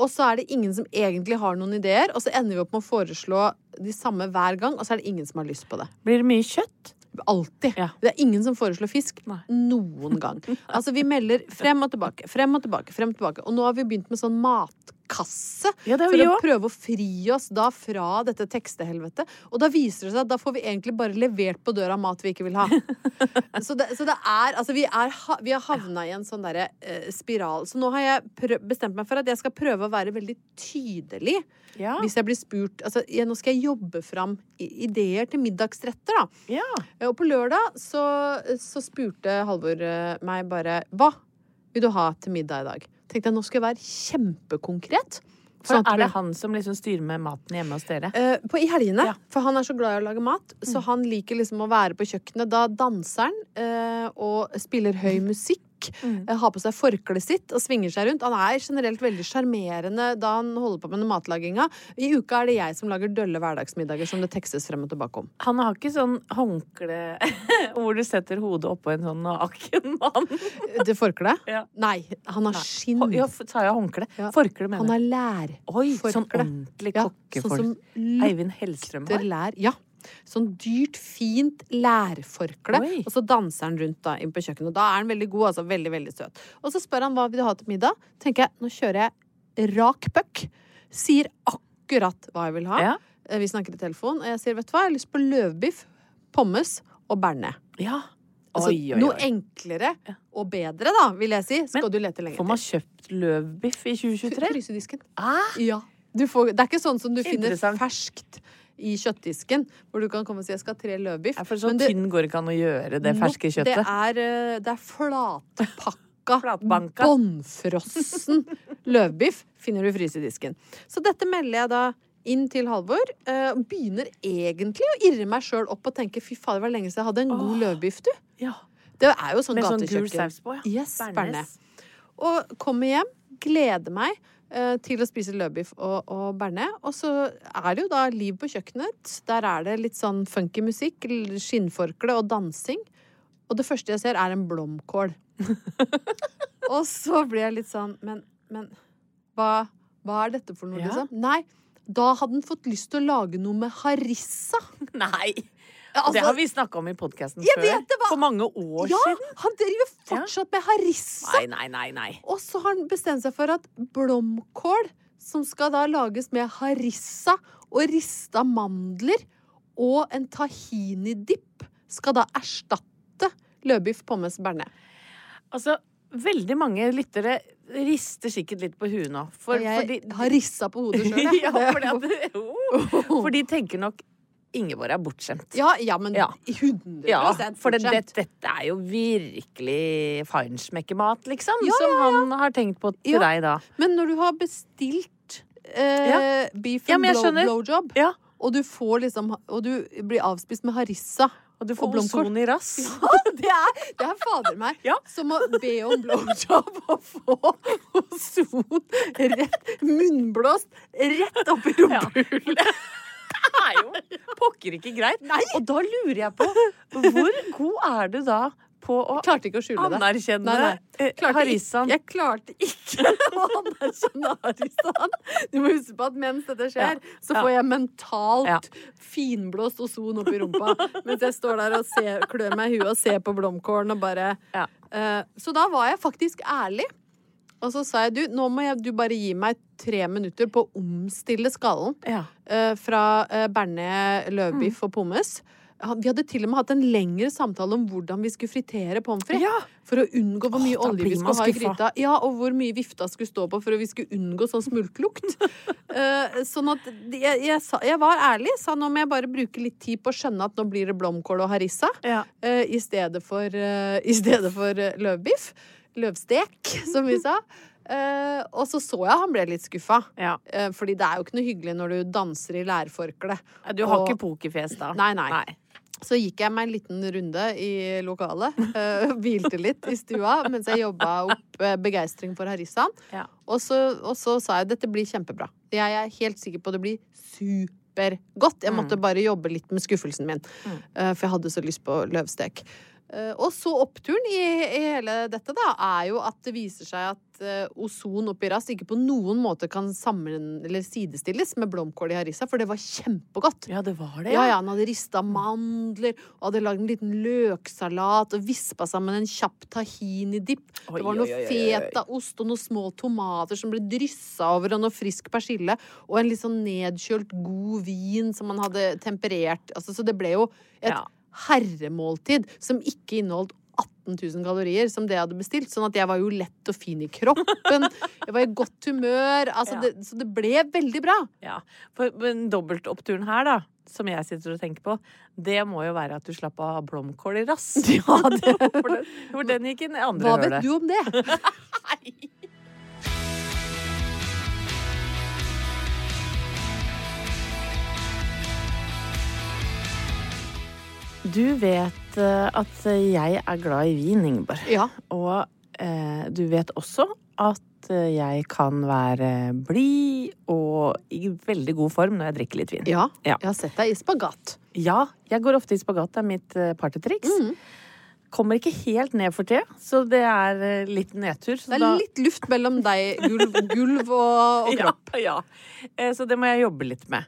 [SPEAKER 2] Og så er det ingen som egentlig har noen ideer, og så ender vi opp med å foreslå de samme hver gang, og så er det ingen som har lyst på det.
[SPEAKER 1] Blir det mye kjøtt?
[SPEAKER 2] Alltid.
[SPEAKER 1] Ja.
[SPEAKER 2] Det er ingen som foreslår fisk
[SPEAKER 1] Nei.
[SPEAKER 2] noen
[SPEAKER 1] (laughs)
[SPEAKER 2] gang. Altså, vi melder frem og tilbake, frem og tilbake, frem og tilbake. Og nå har vi begynt med sånn matkasse
[SPEAKER 1] Ja, det har
[SPEAKER 2] for
[SPEAKER 1] vi
[SPEAKER 2] å
[SPEAKER 1] også.
[SPEAKER 2] prøve å fri oss da fra dette tekstehelvetet. Og da viser det seg at da får vi egentlig bare levert på døra mat vi ikke
[SPEAKER 1] (laughs)
[SPEAKER 2] vil ha. Så det, så det er Altså, vi, er, ha- vi har havna i en sånn derre eh, spiral. Så nå har jeg prø bestemt meg for at jeg skal prøve å være veldig tydelig.
[SPEAKER 1] Ja.
[SPEAKER 2] Hvis jeg blir spurt altså, jeg, Nå skal jeg jobbe fram i- ideer til middagsretter, da.
[SPEAKER 1] Ja.
[SPEAKER 2] Eh, Og på lørdag så, så spurte Halvor eh, meg bare Hva vil du ha til middag i dag? Tenkte jeg, nå skal jeg være kjempekonkret.
[SPEAKER 1] For
[SPEAKER 2] Sånn at
[SPEAKER 1] er det
[SPEAKER 2] blir-
[SPEAKER 1] han som liksom styrer med maten hjemme hos dere?
[SPEAKER 2] Eh, på, I helgene,
[SPEAKER 1] Ja.
[SPEAKER 2] for han er så glad i å lage mat, så han liker liksom å være på kjøkkenet. Da danser han eh, og spiller høy musikk, eh, har på seg forkleet sitt og svinger seg rundt. Han er generelt veldig sjarmerende da han holder på med den matlaginga. I uka er det jeg som lager dølle hverdagsmiddager som det tekstes frem og tilbake om.
[SPEAKER 1] Han har ikke sånn håndkle (laughs) hvor du setter hodet oppå en sånn naken mann.
[SPEAKER 2] Eh, Det forkleet?
[SPEAKER 1] Ja.
[SPEAKER 2] Nei, han har skinn.
[SPEAKER 1] Ho- Ja, f- sa jeg håndkle?
[SPEAKER 2] Ja.
[SPEAKER 1] Forkle,
[SPEAKER 2] Han
[SPEAKER 1] mener jeg.
[SPEAKER 2] har lær.
[SPEAKER 1] Oi, sånn
[SPEAKER 2] forkle.
[SPEAKER 1] ordentlig
[SPEAKER 2] Ja,
[SPEAKER 1] kokkefolk.
[SPEAKER 2] Sånn som
[SPEAKER 1] Eivind Hellstrøm
[SPEAKER 2] lukter
[SPEAKER 1] har.
[SPEAKER 2] lær. Ja. Sånn dyrt, fint lærforkle.
[SPEAKER 1] Oi.
[SPEAKER 2] Og så danser han rundt da, inn på kjøkkenet. Da er han veldig god, altså. Veldig, veldig søt. Og så spør han hva vil du ha til middag. tenker jeg, nå kjører jeg rak puck. Sier akkurat hva jeg vil ha.
[SPEAKER 1] Ja.
[SPEAKER 2] Eh, Vi snakker i telefon. Og jeg sier, vet du hva, jeg har lyst på løvbiff, pommes og bearnés.
[SPEAKER 1] Ja.
[SPEAKER 2] Altså,
[SPEAKER 1] Oi, oi,
[SPEAKER 2] Noe
[SPEAKER 1] oi.
[SPEAKER 2] enklere og bedre, da, vil jeg si, skal
[SPEAKER 1] Men
[SPEAKER 2] du lete lenge
[SPEAKER 1] Får man kjøpt løvbiff i 2023?
[SPEAKER 2] Frysedisken.
[SPEAKER 1] Ah,
[SPEAKER 2] Ja. Du får, det er ikke sånn som du finner
[SPEAKER 1] Interessant.
[SPEAKER 2] ferskt i kjøttdisken, hvor du kan komme og si 'jeg skal ha tre løvbiff'.
[SPEAKER 1] for så
[SPEAKER 2] Men det-
[SPEAKER 1] tynn går det ikke an å gjøre det ferske
[SPEAKER 2] Nope, Det
[SPEAKER 1] kjøttet.
[SPEAKER 2] er, eh, det er flatpakka,
[SPEAKER 1] (laughs) Flatbanka.
[SPEAKER 2] bånnfrossen løvbiff finner du i frysedisken. Så dette melder jeg da inn til Halvor, eh, og begynner egentlig å irre meg sjøl opp og tenke 'fy fader, det var lenge siden jeg hadde en god løvbiff', du.
[SPEAKER 1] Ja.
[SPEAKER 2] Det er jo sånn
[SPEAKER 1] Med sånn
[SPEAKER 2] gatekjøkken.
[SPEAKER 1] gul saus på, ja.
[SPEAKER 2] Yes,
[SPEAKER 1] Bearnés.
[SPEAKER 2] bearnés. Og kommer hjem, gleder meg eh, til å spise løvbiff og, og bearnés. Og så er det jo da liv på kjøkkenet. Der er det litt sånn funky musikk, l- skinnforkle og dansing. Og det første jeg ser, er
[SPEAKER 1] (laughs)
[SPEAKER 2] en blomkål. og så blir jeg litt sånn Men, men hva, hva er dette for noe,
[SPEAKER 1] Ja.
[SPEAKER 2] liksom? Nei, da hadde han fått lyst til å lage noe med harissa.
[SPEAKER 1] (laughs) Nei!
[SPEAKER 2] Altså,
[SPEAKER 1] det har vi snakka om i podkasten
[SPEAKER 2] Jeg
[SPEAKER 1] før.
[SPEAKER 2] vet det var-
[SPEAKER 1] For mange år
[SPEAKER 2] ja,
[SPEAKER 1] siden.
[SPEAKER 2] han driver fortsatt med harissa!
[SPEAKER 1] Nei, nei, nei. nei.
[SPEAKER 2] Og så har han bestemt seg for at blomkål, som skal da lages med harissa og rista mandler og en tahini-dipp, skal da erstatte løvbiff pommes bearnés.
[SPEAKER 1] Altså, veldig mange lyttere rister sikkert litt på huet nå. For,
[SPEAKER 2] Og Jeg
[SPEAKER 1] fordi-
[SPEAKER 2] har rissa på hodet
[SPEAKER 1] (laughs)
[SPEAKER 2] sjøl,
[SPEAKER 1] ja, fordi
[SPEAKER 2] (laughs)
[SPEAKER 1] at, (laughs) oh, for de tenker nok Ingeborg er bortskjemt.
[SPEAKER 2] Ja, ja, men
[SPEAKER 1] Ja.
[SPEAKER 2] 100
[SPEAKER 1] Ja, for det,
[SPEAKER 2] fortsatt.
[SPEAKER 1] det, dette er jo virkelig feinschmeckermat, liksom.
[SPEAKER 2] Ja,
[SPEAKER 1] Som han har tenkt på til
[SPEAKER 2] Ja.
[SPEAKER 1] deg da.
[SPEAKER 2] Men når du har bestilt eh, beef
[SPEAKER 1] Ja,
[SPEAKER 2] and
[SPEAKER 1] men jeg
[SPEAKER 2] blow,
[SPEAKER 1] skjønner.
[SPEAKER 2] blowjob,
[SPEAKER 1] Ja.
[SPEAKER 2] og du får liksom Og du blir avspist med harissa
[SPEAKER 1] Og du får
[SPEAKER 2] Og blomkål.
[SPEAKER 1] blomkål i (laughs) rass.
[SPEAKER 2] (laughs) Det er, det er fader meg
[SPEAKER 1] Ja.
[SPEAKER 2] som å be om blowjob og få ozon rett Munnblåst rett opp i
[SPEAKER 1] Ja.
[SPEAKER 2] rumpehullet.
[SPEAKER 1] Det er jo pokker ikke greit. Og da lurer jeg på, hvor god er du da på å
[SPEAKER 2] Klarte ikke å skjule det.
[SPEAKER 1] Anerkjenne
[SPEAKER 2] nei.
[SPEAKER 1] eh,
[SPEAKER 2] Klarte
[SPEAKER 1] Harissan.
[SPEAKER 2] Ikke, jeg klarte ikke (laughs) å anerkjenne Harissan. Du må huske på at mens dette skjer,
[SPEAKER 1] Ja.
[SPEAKER 2] så
[SPEAKER 1] Ja.
[SPEAKER 2] får jeg mentalt
[SPEAKER 1] Ja.
[SPEAKER 2] finblåst ozon opp i rumpa. Mens jeg står der og ser, klør meg i huet og ser på blomkålen og bare
[SPEAKER 1] Ja.
[SPEAKER 2] Eh, Så da var jeg faktisk ærlig. Og så sa jeg du, nå må jeg, du bare gi meg tre minutter på å omstille skallen
[SPEAKER 1] Ja.
[SPEAKER 2] eh, fra uh,
[SPEAKER 1] Mm.
[SPEAKER 2] bearnés, løvbiff og pommes. Han- Vi hadde til og med hatt en lengre samtale om hvordan vi skulle fritere pommes frites.
[SPEAKER 1] Ja.
[SPEAKER 2] For å unngå hvor mye
[SPEAKER 1] Åh, da
[SPEAKER 2] olje
[SPEAKER 1] blir
[SPEAKER 2] vi
[SPEAKER 1] man
[SPEAKER 2] skulle ha i
[SPEAKER 1] skuffa.
[SPEAKER 2] gryta. Ja, og hvor mye vifta skulle stå på for at vi skulle unngå sånn smultlukt.
[SPEAKER 1] (laughs)
[SPEAKER 2] Eh, sånn at jeg, jeg, sa, jeg var ærlig, sa nå må jeg bare bruke litt tid på å skjønne at nå blir det blomkål og harissa
[SPEAKER 1] Ja.
[SPEAKER 2] eh, i stedet for, eh, i stedet for eh, løvbiff. Løvstek, som
[SPEAKER 1] (laughs)
[SPEAKER 2] vi sa. Eh, og så så jeg han ble litt skuffa.
[SPEAKER 1] Ja.
[SPEAKER 2] Eh, fordi det er jo ikke noe hyggelig når du danser i lærforkle.
[SPEAKER 1] Du har
[SPEAKER 2] Og-
[SPEAKER 1] ikke pokerfjes da?
[SPEAKER 2] Nei, nei. Så gikk jeg meg en liten runde i lokalet, eh, hvilte litt i stua mens jeg jobba opp eh, begeistring for Harisan.
[SPEAKER 1] Ja.
[SPEAKER 2] Og, så, og så sa jeg dette blir kjempebra. Jeg er helt sikker på det blir supergodt. Jeg måtte bare jobbe litt med skuffelsen min, eh, for jeg hadde så lyst på løvstek. Eh, Og så oppturen i, i hele dette da, er jo at det viser seg at eh, ozon og pyras ikke på noen måte kan sammen, eller sidestilles med blomkål i harissa, for det var kjempegodt.
[SPEAKER 1] Ja, det var det,
[SPEAKER 2] Ja, ja, han hadde rista mandler og hadde lagd en liten løksalat og vispa sammen en kjapp tahini-dipp.
[SPEAKER 1] Oi,
[SPEAKER 2] Det var
[SPEAKER 1] oi,
[SPEAKER 2] noe
[SPEAKER 1] oi, oi, oi.
[SPEAKER 2] fetaost og noen små tomater som ble dryssa over, og noe frisk persille. Og en litt sånn nedkjølt god vin som han hadde temperert. Altså, så det ble jo et
[SPEAKER 1] Ja.
[SPEAKER 2] herremåltid som ikke inneholdt 18 000 kalorier som det jeg hadde bestilt. Sånn at jeg var jo lett og fin i kroppen. Jeg var i godt humør. Altså,
[SPEAKER 1] Ja.
[SPEAKER 2] det, så det ble veldig bra.
[SPEAKER 1] Ja, for men dobbeltoppturen her da, som jeg sitter og tenker på, det må jo være at du slapp av blomkål i rass. (laughs) Ja, det. For den, for den gikk inn i andre
[SPEAKER 2] Hva
[SPEAKER 1] hølet.
[SPEAKER 2] vet du om det?
[SPEAKER 1] Du vet eh, at jeg er glad i vin, Ingeborg.
[SPEAKER 2] Ja.
[SPEAKER 1] Og eh, du vet også at eh, jeg kan være blid og i veldig god form når jeg drikker litt vin.
[SPEAKER 2] Ja,
[SPEAKER 1] Ja.
[SPEAKER 2] jeg har sett deg i spagat.
[SPEAKER 1] Ja, jeg går ofte i spagat. Det er mitt eh, partytriks.
[SPEAKER 2] Mm.
[SPEAKER 1] Kommer ikke helt ned for tida, så det er eh, litt nedtur. Så
[SPEAKER 2] Det er
[SPEAKER 1] da-
[SPEAKER 2] litt luft mellom deg, gulv, gulv og,
[SPEAKER 1] (laughs)
[SPEAKER 2] og
[SPEAKER 1] Ja,
[SPEAKER 2] kropp.
[SPEAKER 1] Ja, Eh, Så det må jeg jobbe litt med.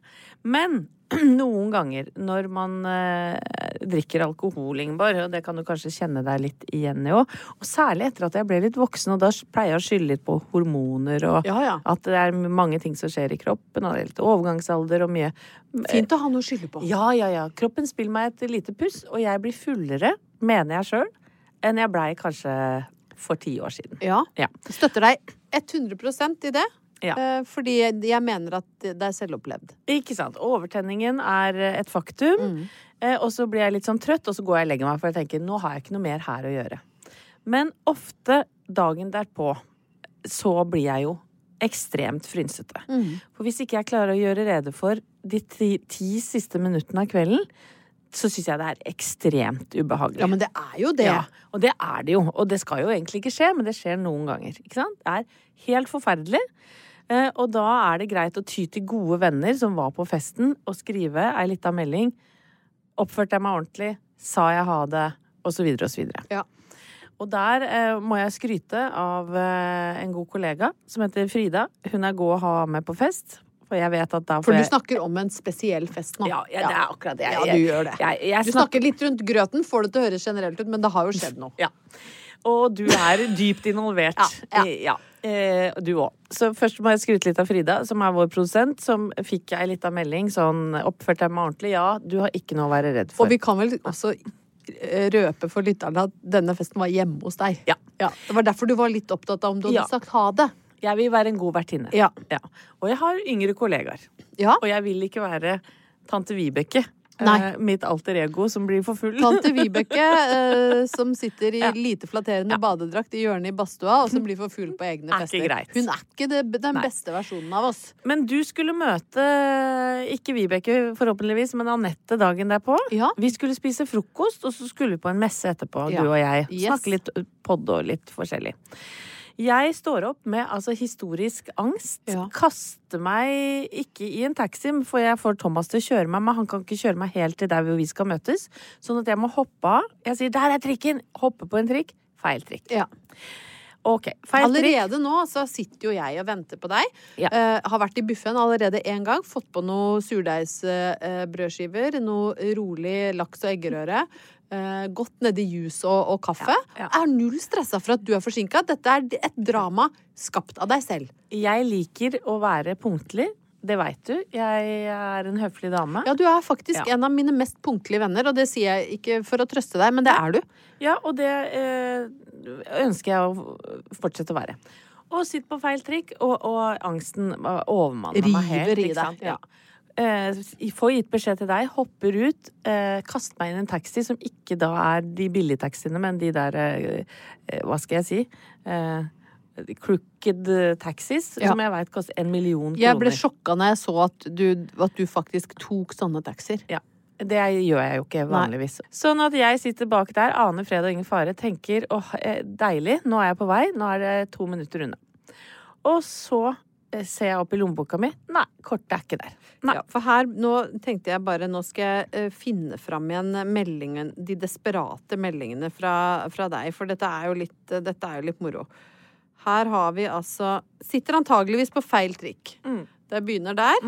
[SPEAKER 1] Men (clears throat) noen ganger når man eh, drikker alkohol, Ingeborg, og det kan du kanskje kjenne deg litt igjen i òg, og særlig etter at jeg ble litt voksen, og da pleier jeg å skylde litt på hormoner og
[SPEAKER 2] Ja, ja.
[SPEAKER 1] at det er mange ting som skjer i kroppen, og det er litt overgangsalder og mye
[SPEAKER 2] Fint å ha noe å skylde på.
[SPEAKER 1] ja, ja, ja. Kroppen spiller meg et lite puss, og jeg blir fullere, mener jeg sjøl, enn jeg blei kanskje for ti år siden.
[SPEAKER 2] Ja.
[SPEAKER 1] Ja.
[SPEAKER 2] Støtter deg 100 i det.
[SPEAKER 1] Ja.
[SPEAKER 2] eh, Fordi jeg mener at det er selvopplevd.
[SPEAKER 1] Ikke sant. Overtenningen er eh, et faktum. Eh, og så blir jeg litt sånn trøtt, og så går jeg og legger meg, for jeg tenker nå har jeg ikke noe mer her å gjøre. Men ofte dagen derpå så blir jeg jo ekstremt frynsete. For hvis ikke jeg klarer å gjøre rede for de ti, ti siste minuttene av kvelden, så syns jeg det er ekstremt ubehagelig.
[SPEAKER 2] Ja, men det er jo det.
[SPEAKER 1] Ja, og det er det jo. Og det skal jo egentlig ikke skje, men det skjer noen ganger. Ikke sant? Det er helt forferdelig. Eh, Og da er det greit å ty til gode venner som var på festen, og skrive ei lita melding. Oppførte jeg meg ordentlig? Sa jeg ha det? Og så videre og så videre.
[SPEAKER 2] Ja.
[SPEAKER 1] Og der eh, må jeg skryte av eh, en god kollega som heter Frida. Hun er god å ha med på fest. For jeg vet at da får
[SPEAKER 2] For du
[SPEAKER 1] jeg
[SPEAKER 2] snakker om en spesiell fest nå.
[SPEAKER 1] ja, ja, det er akkurat det.
[SPEAKER 2] Ja, du gjør det.
[SPEAKER 1] Jeg, jeg, jeg
[SPEAKER 2] Du snakker litt rundt grøten, får det til å høres generelt ut, men det har jo skjedd noe.
[SPEAKER 1] Ja. Og du er dypt involvert.
[SPEAKER 2] Ja, ja.
[SPEAKER 1] I- ja. Eh, Du òg. Så først må jeg skryte litt av Frida, som er vår produsent, som fikk ei lita melding sånn Oppførte jeg meg ordentlig? Ja, du har ikke noe å være redd for.
[SPEAKER 2] Og vi kan vel også eh, røpe for lytterne at denne festen var hjemme hos deg.
[SPEAKER 1] Ja.
[SPEAKER 2] Det var derfor du var litt opptatt av om du hadde
[SPEAKER 1] Ja.
[SPEAKER 2] sagt ha det.
[SPEAKER 1] Jeg vil være en god vertinne.
[SPEAKER 2] Ja.
[SPEAKER 1] Og jeg har yngre kollegaer.
[SPEAKER 2] Ja.
[SPEAKER 1] Og jeg vil ikke være tante Vibeke.
[SPEAKER 2] Nei.
[SPEAKER 1] eh, Mitt alter ego som blir for full.
[SPEAKER 2] Tante Vibeke eh, som sitter i lite flatterende badedrakt i hjørnet i badstua, og som blir for full på egne
[SPEAKER 1] Mm. Er ikke
[SPEAKER 2] fester.
[SPEAKER 1] greit.
[SPEAKER 2] Hun er ikke det, den
[SPEAKER 1] Nei.
[SPEAKER 2] beste versjonen av oss.
[SPEAKER 1] Men du skulle møte ikke Vibeke, forhåpentligvis, men Anette dagen derpå.
[SPEAKER 2] Ja.
[SPEAKER 1] Vi skulle spise frokost, og så skulle vi på en messe etterpå,
[SPEAKER 2] Ja.
[SPEAKER 1] du og jeg.
[SPEAKER 2] Yes.
[SPEAKER 1] Snakke litt podd og litt forskjellig. Jeg står opp med altså, historisk angst.
[SPEAKER 2] Ja.
[SPEAKER 1] Kaster meg ikke i en taxi, for jeg får Thomas til å kjøre meg, men han kan ikke kjøre meg helt til der hvor vi skal møtes. Sånn at jeg må hoppe av. Jeg sier 'der er trikken'! Hoppe på en trikk. Feil trikk.
[SPEAKER 2] Ja.
[SPEAKER 1] Ok, feil trikk.
[SPEAKER 2] Allerede nå så sitter jo jeg og venter på deg.
[SPEAKER 1] Ja.
[SPEAKER 2] Eh, har vært i buffeen allerede én gang. Fått på noen surdeigsbrødskiver, noe rolig laks og eggerøre. Eh, gått nedi juice og, og kaffe.
[SPEAKER 1] Ja, ja.
[SPEAKER 2] Er null stressa for at du er forsinka. Dette er et drama skapt av deg selv.
[SPEAKER 1] Jeg liker å være punktlig. Det veit du. Jeg er en høflig dame.
[SPEAKER 2] Ja, du er faktisk
[SPEAKER 1] Ja.
[SPEAKER 2] en av mine mest punktlige venner, og det sier jeg ikke for å trøste deg, men det er du.
[SPEAKER 1] Ja, og det eh, ønsker jeg å fortsette å være. Og sitt på feil trikk, og, og angsten eh, overmanner meg helt.
[SPEAKER 2] River i
[SPEAKER 1] ikke
[SPEAKER 2] deg,
[SPEAKER 1] sant?
[SPEAKER 2] ja.
[SPEAKER 1] Eh, får gitt beskjed til deg, hopper ut, eh, kaster meg inn i en taxi som ikke da er de billige taxiene, men de der eh, eh, Hva skal jeg si? Eh, crooked taxis,
[SPEAKER 2] Ja.
[SPEAKER 1] som jeg veit koster en million kroner.
[SPEAKER 2] Jeg ble sjokka når jeg så at du, at du faktisk tok sånne taxier.
[SPEAKER 1] Ja. Det gjør jeg jo ikke vanligvis. Sånn at jeg sitter bak der, aner fred og ingen fare, tenker åh, eh, deilig, nå er jeg på vei, nå er det to minutter unna. Og så eh, ser jeg opp i lommeboka mi. Nei, kortet er ikke der. Nei.
[SPEAKER 2] Ja, for her, nå tenkte jeg bare, nå skal jeg eh, finne fram igjen meldingen, de desperate meldingene fra, fra deg, for dette er, jo litt, eh, dette er jo litt moro. Her har vi altså Sitter antageligvis på feil trikk. Det begynner der.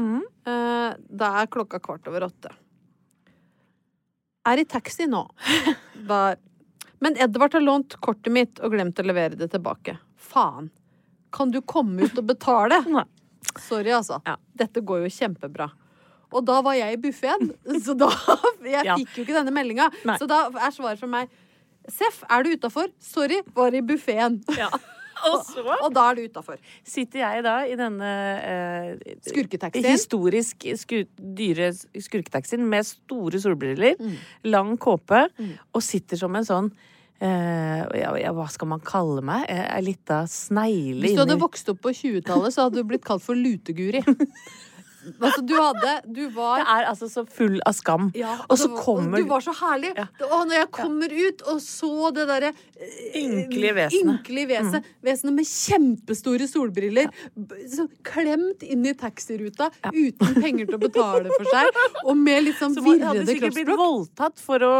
[SPEAKER 2] Eh, Da er klokka kvart over åtte. Er i taxi nå. Da, men Edvard har lånt kortet mitt og glemt å levere det tilbake. Faen. Kan du komme ut og betale?
[SPEAKER 1] Nei.
[SPEAKER 2] Sorry, altså. Dette går jo kjempebra. Og da var jeg i buffeen, (laughs) så da Jeg
[SPEAKER 1] Ja.
[SPEAKER 2] fikk jo ikke denne meldinga.
[SPEAKER 1] Nei.
[SPEAKER 2] Så da er svaret fra meg Seff, er du utafor? Sorry, var i buffeen.
[SPEAKER 1] Og så
[SPEAKER 2] (laughs) Og da er du utafor.
[SPEAKER 1] sitter jeg da i denne eh,
[SPEAKER 2] Skurketaxien.
[SPEAKER 1] Historisk sku, dyre skurketaxien med store solbriller,
[SPEAKER 2] Mm.
[SPEAKER 1] lang kåpe, og sitter som en sånn eh, ja, ja, hva skal man kalle meg? Eh, Ei lita snegle
[SPEAKER 2] Hvis du hadde
[SPEAKER 1] inni-
[SPEAKER 2] vokst opp på 20-tallet, så hadde du blitt kalt for
[SPEAKER 1] (laughs)
[SPEAKER 2] luteguri. Altså, du hadde Du var
[SPEAKER 1] Jeg er altså så full av skam.
[SPEAKER 2] Ja,
[SPEAKER 1] og så
[SPEAKER 2] det var-
[SPEAKER 1] kommer
[SPEAKER 2] Du var så herlig. Å, når jeg kommer ut og så det derre eh,
[SPEAKER 1] Ynkelige vesenet. Mm.
[SPEAKER 2] ynkelige vesenet. Vesenet med kjempestore solbriller. b- Så klemt inn i taxiruta uten penger til å betale for seg. Og med litt sånn
[SPEAKER 1] (laughs) så var, jeg hadde
[SPEAKER 2] virrende
[SPEAKER 1] sikkert blitt
[SPEAKER 2] kroppsspråk.
[SPEAKER 1] voldtatt for å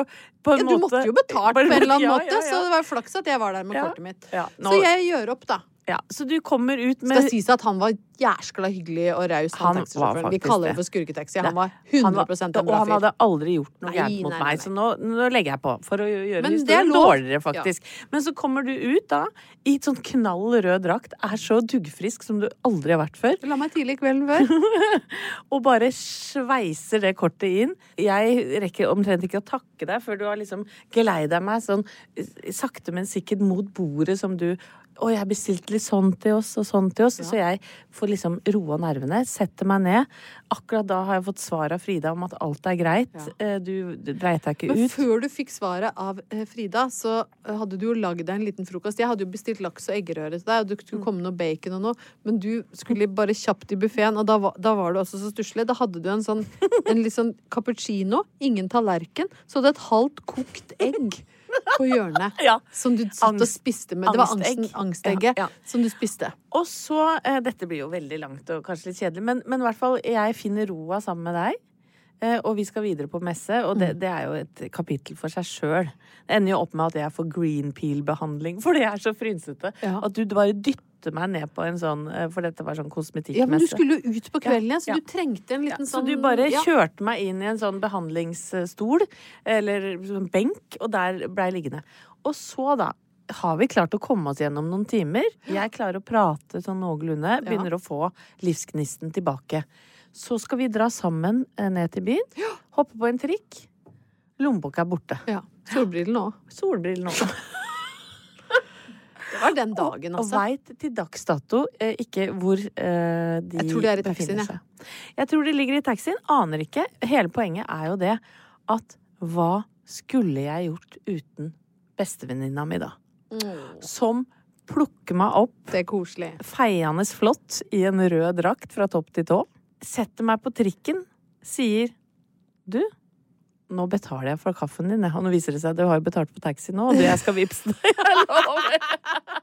[SPEAKER 1] på en
[SPEAKER 2] Ja, du
[SPEAKER 1] måte,
[SPEAKER 2] måtte jo betalt på en eller annen
[SPEAKER 1] Ja,
[SPEAKER 2] måte,
[SPEAKER 1] ja,
[SPEAKER 2] så
[SPEAKER 1] ja.
[SPEAKER 2] det var flaks at jeg var der med
[SPEAKER 1] Ja.
[SPEAKER 2] kortet mitt.
[SPEAKER 1] Ja,
[SPEAKER 2] Så
[SPEAKER 1] nå-
[SPEAKER 2] jeg gjør opp, da.
[SPEAKER 1] ja, så du kommer ut med
[SPEAKER 2] Skal sies at han var jæskla hyggelig og raus, han,
[SPEAKER 1] Han var
[SPEAKER 2] taxisjåføren. Vi
[SPEAKER 1] faktisk
[SPEAKER 2] kaller det
[SPEAKER 1] det.
[SPEAKER 2] for skurketaxi. Han
[SPEAKER 1] Det-
[SPEAKER 2] var
[SPEAKER 1] han
[SPEAKER 2] 100
[SPEAKER 1] var-
[SPEAKER 2] en bra fyr.
[SPEAKER 1] Og han hadde aldri gjort noe
[SPEAKER 2] Nei,
[SPEAKER 1] gærent mot
[SPEAKER 2] nei, nei,
[SPEAKER 1] meg, så nå, nå legger jeg på. For å gjøre
[SPEAKER 2] Men det er
[SPEAKER 1] historien
[SPEAKER 2] lov.
[SPEAKER 1] dårligere, faktisk. Men så kommer du ut da, i et sånn knall rød drakt, er så duggfrisk som du aldri har vært før,
[SPEAKER 2] La meg tidlig kvelden før.
[SPEAKER 1] og bare sveiser det kortet inn. Jeg rekker omtrent ikke å takke deg før du har liksom geleida meg sånn eh, sakte, men sikkert mot bordet som du å, jeg bestilte litt sånn til oss og sånn til oss. Så jeg får liksom roa nervene, setter meg ned. Akkurat da har jeg fått svar av Frida om at alt er greit. Eh, Du du dreit deg ikke
[SPEAKER 2] Men
[SPEAKER 1] ut.
[SPEAKER 2] før du fikk svaret av eh, Frida, så eh, hadde du jo lagd deg en liten frokost. Jeg hadde jo bestilt laks og eggerøre til deg, og det
[SPEAKER 1] Mm.
[SPEAKER 2] skulle komme noe bacon og noe, men du skulle bare kjapt i buffeen, og da var, da var du også så stusslig. Da hadde du en sånn en litt sånn cappuccino, ingen tallerken, så hadde et halvt kokt egg. På hjørnet.
[SPEAKER 1] (laughs) Ja.
[SPEAKER 2] Som du satt og
[SPEAKER 1] Angst-
[SPEAKER 2] spiste med. Det var
[SPEAKER 1] angstegg.
[SPEAKER 2] angsten, angstegget
[SPEAKER 1] Ja, ja.
[SPEAKER 2] som du spiste.
[SPEAKER 1] Og så eh, Dette blir jo veldig langt og kanskje litt kjedelig, men, men i hvert fall, jeg finner roa sammen med deg. Eh, og vi skal videre på messe, og
[SPEAKER 2] Mm.
[SPEAKER 1] det, det er jo et kapittel for seg sjøl. Det ender jo opp med at jeg får green (laughs) peel-behandling, for det er så frynsete.
[SPEAKER 2] Ja.
[SPEAKER 1] At du bare dytter meg ned på en sånn eh, For dette var sånn kosmetikkmesse.
[SPEAKER 2] Ja, men du skulle jo ut på kvelden igjen, så
[SPEAKER 1] ja.
[SPEAKER 2] du trengte en
[SPEAKER 1] Ja,
[SPEAKER 2] liten
[SPEAKER 1] så
[SPEAKER 2] sånn
[SPEAKER 1] du bare
[SPEAKER 2] ja.
[SPEAKER 1] kjørte meg inn i en sånn behandlingsstol, eller sånn benk, og der blei jeg liggende. Og så, da, har vi klart å komme oss gjennom noen timer. Jeg klarer å prate sånn noenlunde, begynner å få livsgnisten tilbake. Så skal vi dra sammen eh, ned til byen, hoppe på en trikk. Lommeboka er borte.
[SPEAKER 2] Ja. Solbrillene òg.
[SPEAKER 1] Solbrillene også.
[SPEAKER 2] Det var den dagen,
[SPEAKER 1] Og
[SPEAKER 2] altså.
[SPEAKER 1] veit til dags dato eh, ikke hvor eh, de
[SPEAKER 2] Jeg tror det er i taxien,
[SPEAKER 1] befinner
[SPEAKER 2] jeg.
[SPEAKER 1] seg. Jeg tror de ligger i taxien. Aner ikke. Hele poenget er jo det at hva skulle jeg gjort uten bestevenninna mi, da?
[SPEAKER 2] Mm.
[SPEAKER 1] Som plukker meg opp
[SPEAKER 2] Det er koselig.
[SPEAKER 1] feiende flott i en rød drakt fra topp til tå, setter meg på trikken, sier du, nå betaler jeg for kaffen din, jeg». og nå viser det seg at du har jo betalt på taxi nå, og du, jeg skal vippse deg. Jeg lover.
[SPEAKER 2] (laughs)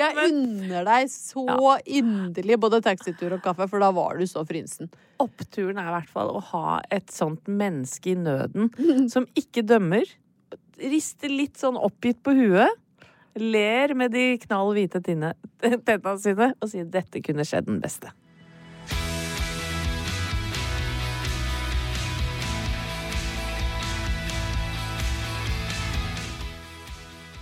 [SPEAKER 2] Jeg unner deg så inderlig både taxitur og kaffe, for da var du så frynsen.
[SPEAKER 1] oppturen er i hvert fall å ha et sånt menneske i nøden (laughs) som ikke dømmer. Rister litt sånn oppgitt på huet. Ler med de knall hvite tinne- (laughs) tenna sine og sier 'dette kunne skjedd den beste'.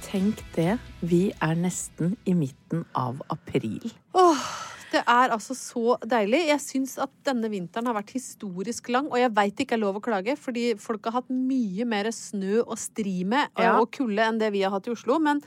[SPEAKER 1] Tenk det. Vi er nesten i midten av april.
[SPEAKER 2] Åh, det er altså så deilig. Jeg syns at denne vinteren har vært historisk lang, og jeg veit det ikke er lov å klage, fordi folk har hatt mye mer snø å stri med og-
[SPEAKER 1] Ja.
[SPEAKER 2] og kulde enn det vi har hatt i Oslo, men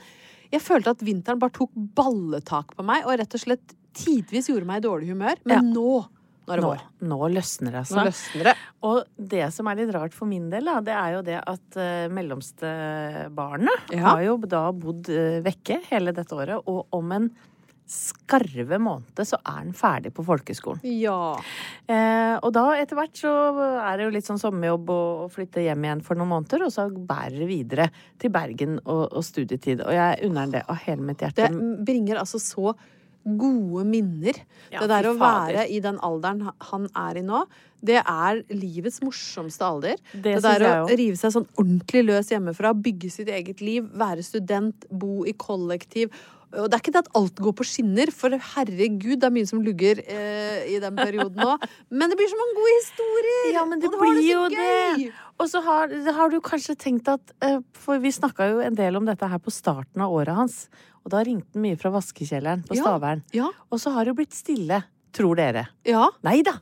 [SPEAKER 2] jeg følte at vinteren bare tok balletak på meg, og rett og slett tidvis gjorde meg i dårlig humør. Men
[SPEAKER 1] Ja.
[SPEAKER 2] nå, nå er det
[SPEAKER 1] Nå,
[SPEAKER 2] vår.
[SPEAKER 1] nå løsner det, altså.
[SPEAKER 2] Nå løsner det.
[SPEAKER 1] Og det som er litt rart for min del, da, det er jo det at eh, mellomste barnet
[SPEAKER 2] Ja.
[SPEAKER 1] har jo da bodd eh, vekke hele dette året, og om en skarve måned så er den ferdig på folkeskolen.
[SPEAKER 2] Ja.
[SPEAKER 1] Eh, og da etter hvert så er det jo litt sånn sommerjobb og, og flytte hjem igjen for noen måneder, og så bærer det videre til Bergen og, og studietid. Og jeg unner han det av hele mitt hjerte.
[SPEAKER 2] Det bringer altså så gode minner.
[SPEAKER 1] Ja,
[SPEAKER 2] det der
[SPEAKER 1] fy
[SPEAKER 2] å
[SPEAKER 1] fader.
[SPEAKER 2] være i den alderen han er i nå, det er livets morsomste alder.
[SPEAKER 1] Det
[SPEAKER 2] Det,
[SPEAKER 1] synes
[SPEAKER 2] der å
[SPEAKER 1] jeg også.
[SPEAKER 2] rive seg sånn ordentlig løs hjemmefra, bygge sitt eget liv, være student, bo i kollektiv. Og det er ikke det at alt går på skinner, for herregud, det er mye som lugger eh, i den perioden
[SPEAKER 1] (laughs)
[SPEAKER 2] òg. Men det blir så mange gode historier!
[SPEAKER 1] Ja, men det
[SPEAKER 2] og
[SPEAKER 1] blir jo
[SPEAKER 2] var det så gøy!
[SPEAKER 1] det. Og så har, har du kanskje tenkt at eh, For vi snakka jo en del om dette her på starten av året hans. Og da ringte han mye fra vaskekjelleren på
[SPEAKER 2] Ja.
[SPEAKER 1] Stavern.
[SPEAKER 2] Ja.
[SPEAKER 1] Og så har det blitt stille, tror dere.
[SPEAKER 2] ja.
[SPEAKER 1] Nei da.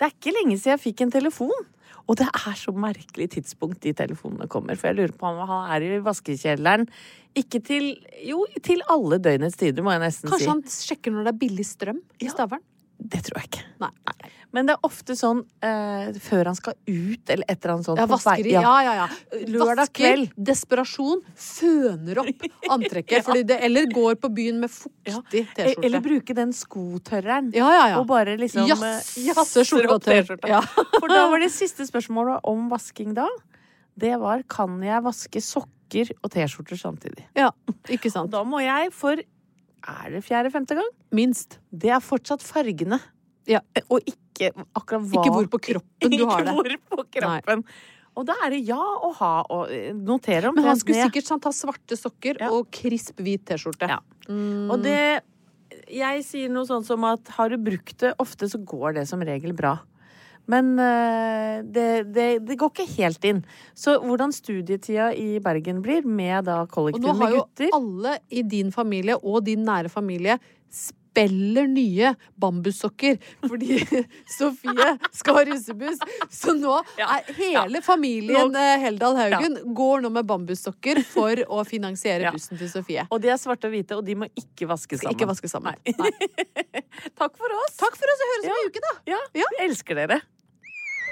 [SPEAKER 1] Det er ikke lenge siden jeg fikk en telefon. Og det er så merkelig tidspunkt de telefonene kommer. For jeg lurer på om han er i vaskekjelleren. Ikke til Jo, til alle døgnets tider, må jeg nesten
[SPEAKER 2] Kanskje
[SPEAKER 1] si.
[SPEAKER 2] han sjekker når det er billig strøm i
[SPEAKER 1] Ja.
[SPEAKER 2] Stavern?
[SPEAKER 1] Det tror jeg ikke.
[SPEAKER 2] Nei.
[SPEAKER 1] Men det er ofte sånn eh, før han skal ut, eller et eller annet sånt.
[SPEAKER 2] Ja,
[SPEAKER 1] på vei-
[SPEAKER 2] vaskeri. Ja, ja, ja.
[SPEAKER 1] Lørdag
[SPEAKER 2] Vasker,
[SPEAKER 1] kveld.
[SPEAKER 2] desperasjon, føner
[SPEAKER 1] (laughs)
[SPEAKER 2] opp antrekket. fordi det, eller går på byen med fuktig T-skjorte.
[SPEAKER 1] E- Eller bruke den skotørreren.
[SPEAKER 2] Ja, ja, ja.
[SPEAKER 1] Og bare liksom eh,
[SPEAKER 2] Jass- jasse
[SPEAKER 1] jasser opp
[SPEAKER 2] skjorte og
[SPEAKER 1] T-skjorta.
[SPEAKER 2] T-skjorte. (laughs) Ja.
[SPEAKER 1] For da var det siste spørsmålet om vasking da. Det var kan jeg vaske sokker og T-skjorter samtidig.
[SPEAKER 2] ja, ikke sant.
[SPEAKER 1] Da må jeg for Er det fjerde-femte gang?
[SPEAKER 2] Minst.
[SPEAKER 1] Det er fortsatt fargene.
[SPEAKER 2] Ja.
[SPEAKER 1] Og ikke akkurat Eh, hva
[SPEAKER 2] Ikke hvor på kroppen du har
[SPEAKER 1] (laughs)
[SPEAKER 2] det.
[SPEAKER 1] Ikke hvor på kroppen. Og da er det ja å ha og eh, notere
[SPEAKER 2] Men han
[SPEAKER 1] omtrent
[SPEAKER 2] skulle
[SPEAKER 1] ned.
[SPEAKER 2] sikkert sånn, ta svarte sokker
[SPEAKER 1] Ja.
[SPEAKER 2] og krisp hvit T-skjorte. Mm.
[SPEAKER 1] Ja. Og det Jeg sier noe sånn som at har du brukt det ofte, så går det som regel bra. Men eh, det, det, det går ikke helt inn. Så hvordan studietida i Bergen blir, med da
[SPEAKER 2] Og
[SPEAKER 1] kollektiv
[SPEAKER 2] nå har
[SPEAKER 1] med
[SPEAKER 2] jo
[SPEAKER 1] gutter
[SPEAKER 2] alle i din familie og din nære familie Speller nye bambussokker fordi (laughs) Sofie skal ha russebuss. Så nå
[SPEAKER 1] Ja,
[SPEAKER 2] er hele familien
[SPEAKER 1] Nå-
[SPEAKER 2] eh, Heldal Haugen går nå med bambussokker for å finansiere
[SPEAKER 1] Ja.
[SPEAKER 2] bussen til Sofie.
[SPEAKER 1] Og de er svarte og hvite, og de må ikke vaske sammen.
[SPEAKER 2] Ikke vaske sammen. Nei.
[SPEAKER 1] (laughs) Takk for oss.
[SPEAKER 2] Takk for oss! og Høres om en uke, da!
[SPEAKER 1] Ja, jeg elsker dere.